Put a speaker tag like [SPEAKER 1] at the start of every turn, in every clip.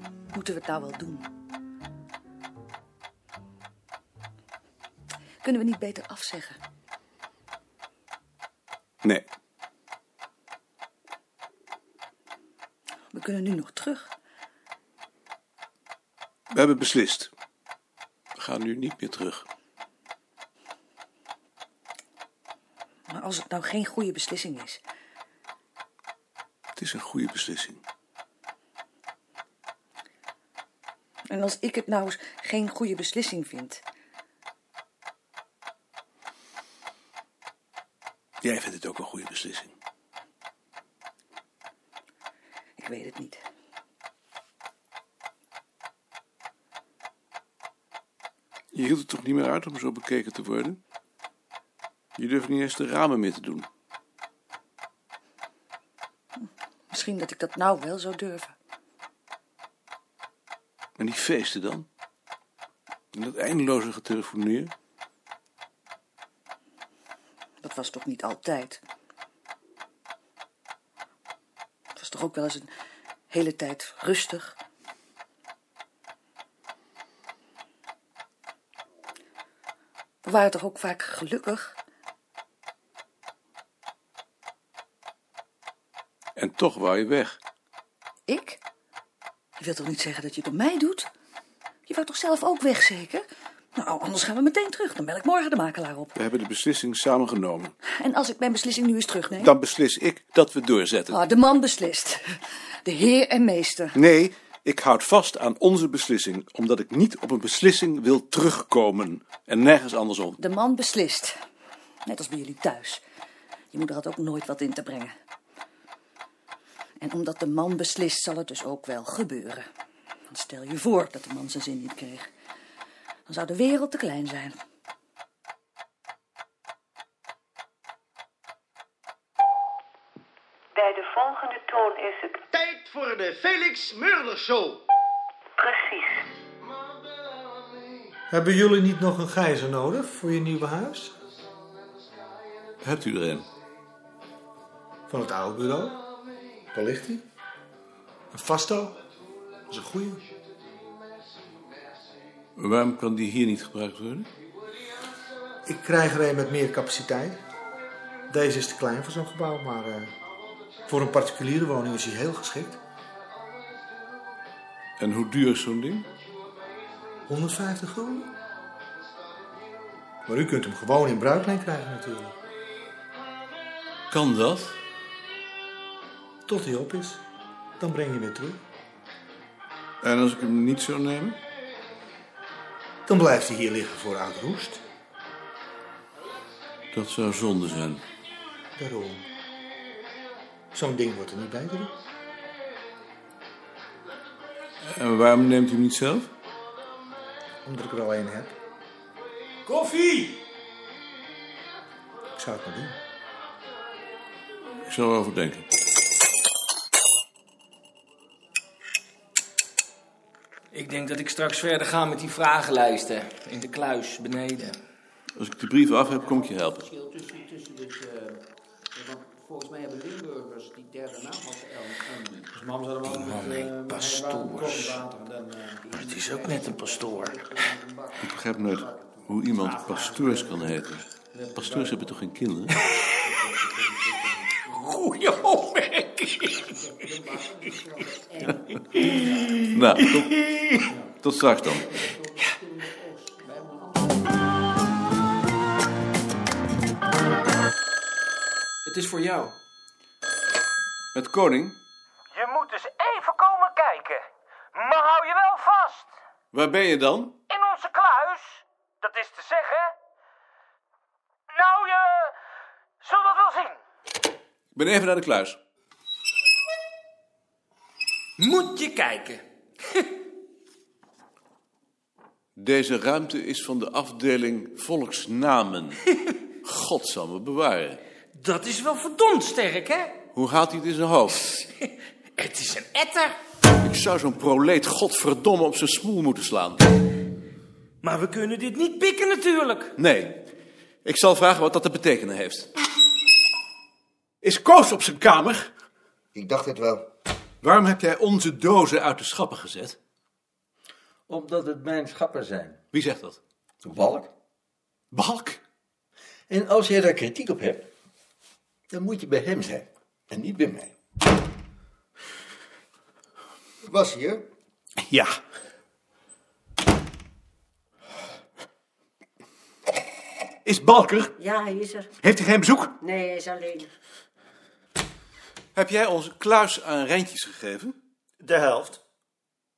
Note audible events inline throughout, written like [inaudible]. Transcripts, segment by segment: [SPEAKER 1] het nou wel doen. Kunnen we niet beter afzeggen?
[SPEAKER 2] Nee,
[SPEAKER 1] We kunnen nu nog terug.
[SPEAKER 2] we hebben beslist. We gaan nu niet meer terug.
[SPEAKER 1] Maar als het nou geen goede beslissing is.
[SPEAKER 2] Het is een goede beslissing.
[SPEAKER 1] En als ik het nou eens geen goede beslissing vind.
[SPEAKER 2] Jij vindt het ook een goede beslissing.
[SPEAKER 1] Ik weet het niet.
[SPEAKER 2] Je hield het toch niet meer uit om zo bekeken te worden? Je durft niet eens de ramen meer te doen.
[SPEAKER 1] Misschien dat ik dat nou wel zou durven.
[SPEAKER 2] En die feesten dan? En dat eindeloze getelefoneer?
[SPEAKER 1] Dat was toch niet altijd? Het was toch ook wel eens een hele tijd rustig? We waren toch ook vaak gelukkig?
[SPEAKER 2] En toch wou je weg.
[SPEAKER 1] Ik? Je wilt toch niet zeggen dat je het om mij doet? Je wou toch zelf ook weg, zeker? Nou, anders gaan we meteen terug. Dan bel ik morgen de makelaar op.
[SPEAKER 2] We hebben de beslissing samen genomen.
[SPEAKER 1] En als ik mijn beslissing nu eens terugneem?
[SPEAKER 2] Dan beslis ik dat we doorzetten.
[SPEAKER 1] Ah, de man beslist. De heer en meester.
[SPEAKER 2] Nee, ik houd vast aan onze beslissing, omdat ik niet op een beslissing wil terugkomen. En nergens andersom.
[SPEAKER 1] De man beslist. Net als bij jullie thuis. Je moeder had ook nooit wat in te brengen. En omdat de man beslist, zal het dus ook wel gebeuren. Want stel je voor dat de man zijn zin niet kreeg. Dan zou de wereld te klein zijn.
[SPEAKER 3] Bij de volgende toon is het
[SPEAKER 4] Tijd voor de Felix Murder Show.
[SPEAKER 3] precies.
[SPEAKER 5] Hebben jullie niet nog een gijzer nodig voor je nieuwe huis?
[SPEAKER 2] Hebt u er een?
[SPEAKER 5] Van het oude bureau? Waar ligt hij? Een vasto. Dat is een goeie.
[SPEAKER 2] Waarom kan die hier niet gebruikt worden?
[SPEAKER 5] Ik krijg er een met meer capaciteit. Deze is te klein voor zo'n gebouw, maar eh, voor een particuliere woning is hij heel geschikt.
[SPEAKER 2] En hoe duur is zo'n ding?
[SPEAKER 5] 150 gulden. Maar u kunt hem gewoon in bruikleen krijgen natuurlijk.
[SPEAKER 2] Kan dat?
[SPEAKER 5] Tot hij op is. Dan breng je hem weer terug.
[SPEAKER 2] En als ik hem niet zou nemen?
[SPEAKER 5] Dan blijft hij hier liggen voor oud roest.
[SPEAKER 2] Dat zou zonde zijn.
[SPEAKER 5] Daarom. Zo'n ding wordt er niet bij gedaan.
[SPEAKER 2] En waarom neemt u hem niet zelf?
[SPEAKER 5] Omdat ik er al één heb.
[SPEAKER 4] Koffie!
[SPEAKER 5] Ik zou het maar doen.
[SPEAKER 2] Ik zal erover denken.
[SPEAKER 6] Ik denk dat ik straks verder ga met die vragenlijsten. In de kluis, beneden.
[SPEAKER 2] Als ik de brief af heb, kom ik je helpen.
[SPEAKER 7] verschil tussen, tussen dit. eh, want volgens mij hebben Limburgers die derde naam als L. en-
[SPEAKER 4] Dus mam zou wel met,
[SPEAKER 6] Mannen,
[SPEAKER 4] eh, met
[SPEAKER 6] pastoors.
[SPEAKER 4] een kopje water en dan... eh,
[SPEAKER 6] Maar het is ook net een pastoor.
[SPEAKER 2] Ik begrijp nooit hoe iemand pastoors kan heten. Pastoors hebben toch geen kinderen?
[SPEAKER 6] Goeie opmerking.
[SPEAKER 2] [laughs] Nou, tot, tot straks dan.
[SPEAKER 6] Het is voor jou.
[SPEAKER 2] Met koning,
[SPEAKER 8] Je moet eens even komen kijken. Maar hou je wel vast.
[SPEAKER 2] waar ben je dan?
[SPEAKER 8] In onze kluis. Dat is te zeggen. Nou, je zult dat wel zien.
[SPEAKER 2] Ik ben even naar de kluis.
[SPEAKER 6] Moet je kijken.
[SPEAKER 2] Deze ruimte is van de afdeling [laughs] volksnamen. Godsamme bewaren.
[SPEAKER 6] Dat is wel verdomd sterk, hè?
[SPEAKER 2] Hoe haalt hij het in zijn hoofd?
[SPEAKER 6] Het is een etter.
[SPEAKER 2] Ik zou zo'n proleet godverdomme op zijn smoel moeten slaan.
[SPEAKER 6] Maar we kunnen dit niet pikken natuurlijk.
[SPEAKER 2] Nee, ik zal vragen wat dat te betekenen heeft. Is Koos op zijn kamer?
[SPEAKER 9] Ik dacht het wel.
[SPEAKER 2] Waarom heb jij onze dozen uit de schappen gezet?
[SPEAKER 5] omdat het mijn schappen zijn.
[SPEAKER 2] Wie zegt dat?
[SPEAKER 5] Walk.
[SPEAKER 2] Balk?
[SPEAKER 5] En als jij daar kritiek op hebt, dan moet je bij hem zijn en niet bij mij. Was hier?
[SPEAKER 2] Ja. Is Balker?
[SPEAKER 10] Ja, hij is er.
[SPEAKER 2] Heeft hij geen bezoek?
[SPEAKER 10] Nee, hij is alleen.
[SPEAKER 2] Heb jij onze kluis aan Rijntjes gegeven?
[SPEAKER 8] De helft.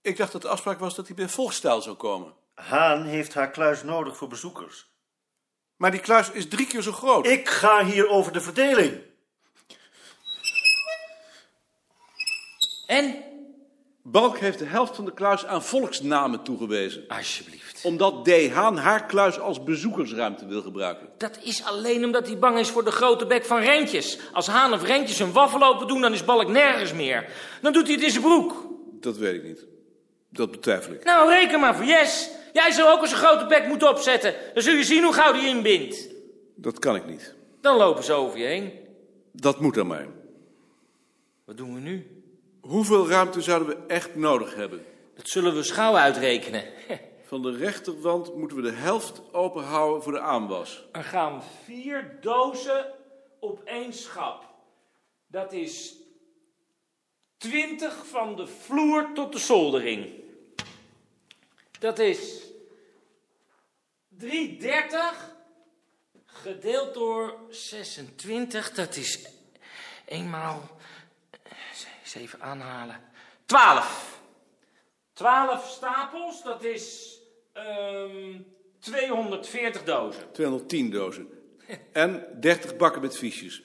[SPEAKER 2] Ik dacht dat de afspraak was dat hij bij volkstaal zou komen.
[SPEAKER 8] Haan heeft haar kluis nodig voor bezoekers.
[SPEAKER 2] Maar die kluis is drie keer zo groot.
[SPEAKER 8] Ik ga hier over de verdeling.
[SPEAKER 11] En?
[SPEAKER 2] Balk heeft de helft van de kluis aan volksnamen toegewezen.
[SPEAKER 11] Alsjeblieft.
[SPEAKER 2] Omdat D. Haan haar kluis als bezoekersruimte wil gebruiken.
[SPEAKER 11] Dat is alleen omdat hij bang is voor de grote bek van Rentjes. Als Haan of Rentjes een waffel open doen, dan is Balk nergens meer. Dan doet hij het in zijn broek.
[SPEAKER 2] Dat weet ik niet. Dat betwijfel ik.
[SPEAKER 11] Nou, reken maar voor Yes. Jij zou ook eens een grote bek moeten opzetten. Dan zul je zien hoe gauw die inbindt.
[SPEAKER 2] Dat kan ik niet.
[SPEAKER 11] Dan lopen ze over je heen.
[SPEAKER 2] Dat moet aan mij.
[SPEAKER 11] Wat doen we nu?
[SPEAKER 2] Hoeveel ruimte zouden we echt nodig hebben?
[SPEAKER 11] Dat zullen we schouw uitrekenen. [laughs]
[SPEAKER 2] Van de rechterwand moeten we de helft openhouden voor de aanwas.
[SPEAKER 11] Er gaan vier dozen op één schap. Dat is twintig van de vloer tot de zoldering. Dat is 330 gedeeld door 26. Dat is eenmaal eh, zeven aanhalen. 12. 12 stapels, dat is ehm 240 dozen.
[SPEAKER 2] 210 dozen. En 30 bakken met fiches.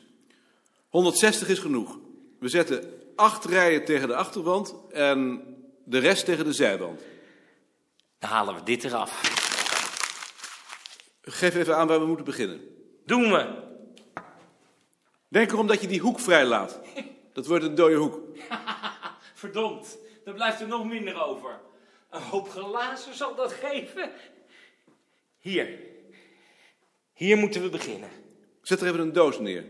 [SPEAKER 2] 160 is genoeg. We zetten acht rijen tegen de achterwand en de rest tegen de zijwand.
[SPEAKER 11] Dan halen we dit eraf.
[SPEAKER 2] Geef even aan waar we moeten beginnen.
[SPEAKER 11] Doen we.
[SPEAKER 2] Denk erom dat je die hoek vrijlaat. Dat wordt een dode hoek.
[SPEAKER 11] Verdomd, dan blijft er nog minder over. Een hoop glazen zal dat geven. Hier. Hier moeten we beginnen.
[SPEAKER 2] Zet er even een doos neer.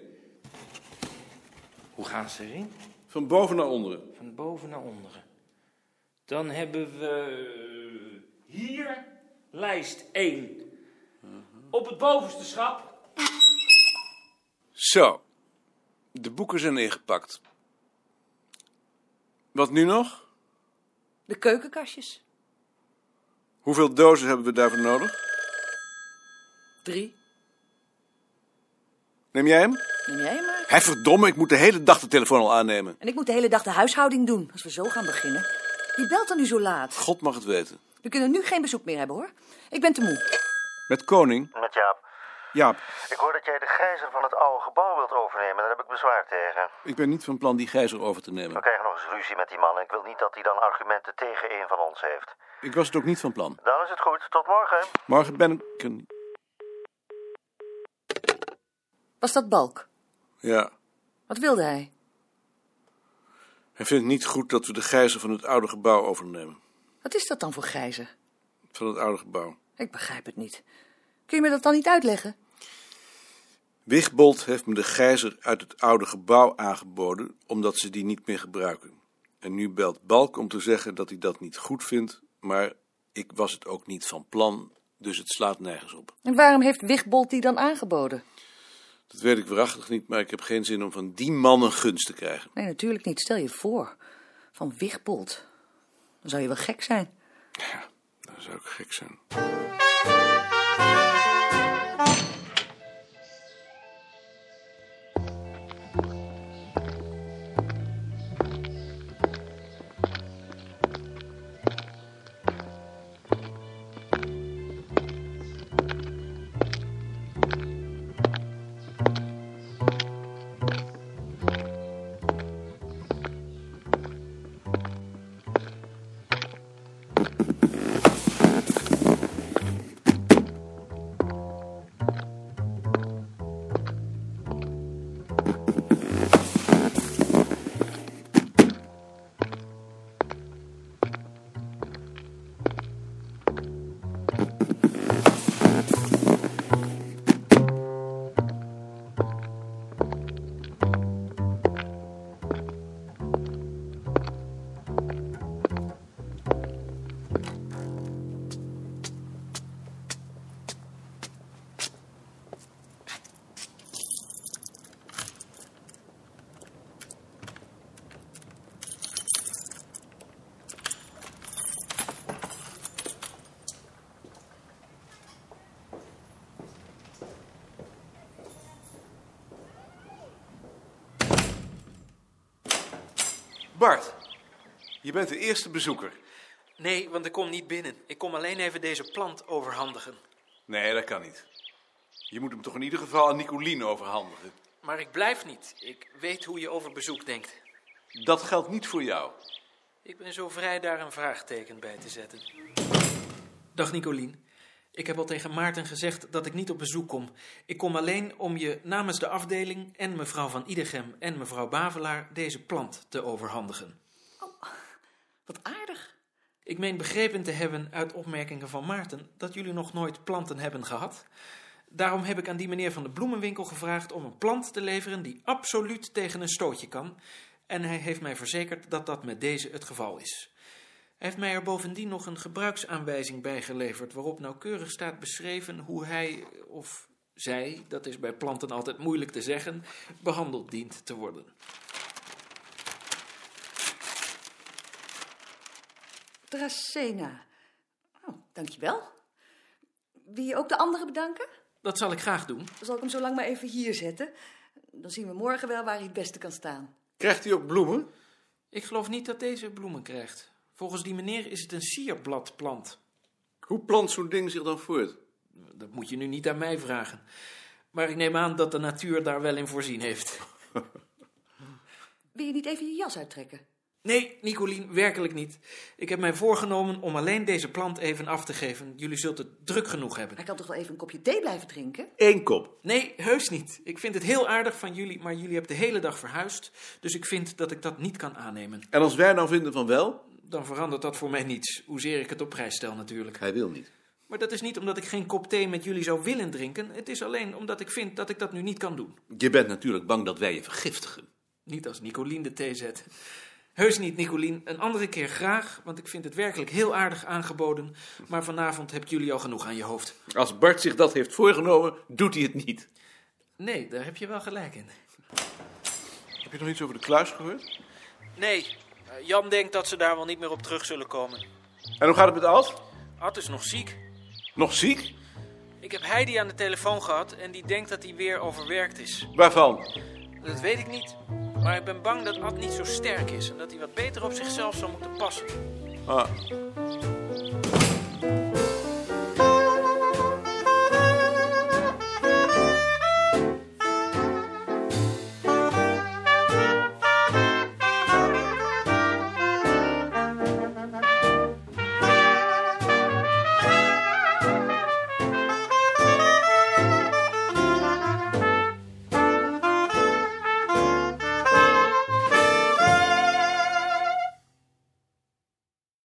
[SPEAKER 11] Hoe gaan ze erin?
[SPEAKER 2] Van boven naar onderen.
[SPEAKER 11] Van boven naar onderen. Dan hebben we eh, hier lijst 1. Op het bovenste schap.
[SPEAKER 2] Zo. De boeken zijn ingepakt. Wat nu nog?
[SPEAKER 1] De keukenkastjes.
[SPEAKER 2] Hoeveel dozen hebben we daarvoor nodig?
[SPEAKER 1] Drie.
[SPEAKER 2] Neem jij hem?
[SPEAKER 1] Neem jij hem maar.
[SPEAKER 2] Hé, verdomme, ik moet de hele dag de telefoon al aannemen.
[SPEAKER 1] En ik moet de hele dag de huishouding doen, als we zo gaan beginnen. Wie belt er nu zo laat?
[SPEAKER 2] God mag het weten.
[SPEAKER 1] We kunnen nu geen bezoek meer hebben, hoor. Ik ben te moe.
[SPEAKER 2] Met Koning?
[SPEAKER 8] Met Jaap.
[SPEAKER 2] Jaap,
[SPEAKER 8] Ik hoor dat jij de gijzer van het oude gebouw wilt overnemen. Daar heb ik bezwaar tegen.
[SPEAKER 2] ik ben niet van plan die gijzer over te nemen.
[SPEAKER 8] We krijgen nog eens ruzie met die man. En ik wil niet dat hij dan argumenten tegen een van ons heeft.
[SPEAKER 2] Ik was het ook niet van plan.
[SPEAKER 8] Dan is het goed. Tot morgen.
[SPEAKER 2] Morgen ben ik een...
[SPEAKER 1] Was dat Balk?
[SPEAKER 2] Ja,
[SPEAKER 1] Wat wilde hij?
[SPEAKER 2] hij vindt niet goed dat we de gijzer van het oude gebouw overnemen.
[SPEAKER 1] Wat is dat dan voor grijzer?
[SPEAKER 2] Van het oude gebouw.
[SPEAKER 1] Ik begrijp het niet. Kun je me dat dan niet uitleggen?
[SPEAKER 2] Wigbold heeft me de gijzer uit het oude gebouw aangeboden, omdat ze die niet meer gebruiken. En nu belt Balk om te zeggen dat hij dat niet goed vindt, maar ik was het ook niet van plan, dus het slaat nergens op.
[SPEAKER 1] En waarom heeft Wigbold die dan aangeboden?
[SPEAKER 2] Dat weet ik waarachtig niet, maar ik heb geen zin om van die man een gunst te krijgen.
[SPEAKER 1] Nee, natuurlijk niet. Stel je voor. Van Wigbold. Dan zou je wel gek zijn.
[SPEAKER 2] Dat zou ook gek zijn. Bart, je bent de eerste bezoeker.
[SPEAKER 11] Nee, want ik kom niet binnen. Ik kom alleen even deze plant overhandigen.
[SPEAKER 2] Nee, dat kan niet. Je moet hem toch in ieder geval aan Nicolien overhandigen.
[SPEAKER 11] Maar ik blijf niet. Ik weet hoe je over bezoek denkt.
[SPEAKER 2] Dat geldt niet voor jou.
[SPEAKER 11] Ik ben zo vrij daar een vraagteken bij te zetten. Dag Nicolien. Ik heb al tegen Maarten gezegd dat ik niet op bezoek kom. Ik kom alleen om je namens de afdeling en mevrouw van Idegem en mevrouw Bavelaar deze plant te overhandigen.
[SPEAKER 1] Wat aardig.
[SPEAKER 11] Ik meen begrepen te hebben uit opmerkingen van Maarten dat jullie nog nooit planten hebben gehad. Daarom heb ik aan die meneer van de bloemenwinkel gevraagd om een plant te leveren die absoluut tegen een stootje kan. En hij heeft mij verzekerd dat dat met deze het geval is. Hij heeft mij er bovendien nog een gebruiksaanwijzing bij geleverd, waarop nauwkeurig staat beschreven hoe hij of zij, dat is bij planten altijd moeilijk te zeggen, behandeld dient te worden.
[SPEAKER 1] Dracena. Oh, dankjewel. Wil je ook de anderen bedanken?
[SPEAKER 11] Dat zal ik graag doen.
[SPEAKER 1] Zal ik hem zo lang maar even hier zetten? Dan zien we morgen wel waar hij het beste kan staan.
[SPEAKER 2] Krijgt hij ook bloemen?
[SPEAKER 11] Ik geloof niet dat deze bloemen krijgt. Volgens die meneer is het een sierbladplant.
[SPEAKER 2] Hoe plant zo'n ding zich dan voort?
[SPEAKER 11] Dat moet je nu niet aan mij vragen. Maar ik neem aan dat de natuur daar wel in voorzien heeft.
[SPEAKER 1] Wil je niet even je jas uittrekken?
[SPEAKER 11] Nee, Nicolien, werkelijk niet. Ik heb mij voorgenomen om alleen deze plant even af te geven. Jullie zult het druk genoeg hebben.
[SPEAKER 1] Hij kan toch wel even een kopje thee blijven drinken?
[SPEAKER 2] Eén kop.
[SPEAKER 11] Nee, heus niet. Ik vind het heel aardig van jullie, maar jullie hebben de hele dag verhuisd. Dus ik vind dat ik dat niet kan aannemen.
[SPEAKER 2] En als wij nou vinden van wel?
[SPEAKER 11] Dan verandert dat voor mij niets, hoezeer ik het op prijs stel natuurlijk.
[SPEAKER 2] Hij wil niet.
[SPEAKER 11] Maar dat is niet omdat ik geen kop thee met jullie zou willen drinken. Het is alleen omdat ik vind dat ik dat nu niet kan doen.
[SPEAKER 2] Je bent natuurlijk bang dat wij je vergiftigen.
[SPEAKER 11] Niet als Nicolien de thee zet. Heus niet, Nicolien. Een andere keer graag, want ik vind het werkelijk heel aardig aangeboden. Maar vanavond hebben jullie al genoeg aan je hoofd.
[SPEAKER 2] Als Bart zich dat heeft voorgenomen, doet hij het niet.
[SPEAKER 11] Nee, daar heb je wel gelijk in.
[SPEAKER 2] Heb je nog iets over de kluis gehoord?
[SPEAKER 11] Nee, eh, Jan denkt dat ze daar wel niet meer op terug zullen komen.
[SPEAKER 2] En hoe gaat het met Ad?
[SPEAKER 11] Ad is nog ziek.
[SPEAKER 2] Nog ziek?
[SPEAKER 11] Ik heb Heidi aan de telefoon gehad en die denkt dat hij weer overwerkt is.
[SPEAKER 2] Waarvan?
[SPEAKER 11] Dat weet ik niet. Maar ik ben bang dat Ad niet zo sterk is en dat hij wat beter op zichzelf zou moeten passen.
[SPEAKER 2] Ah.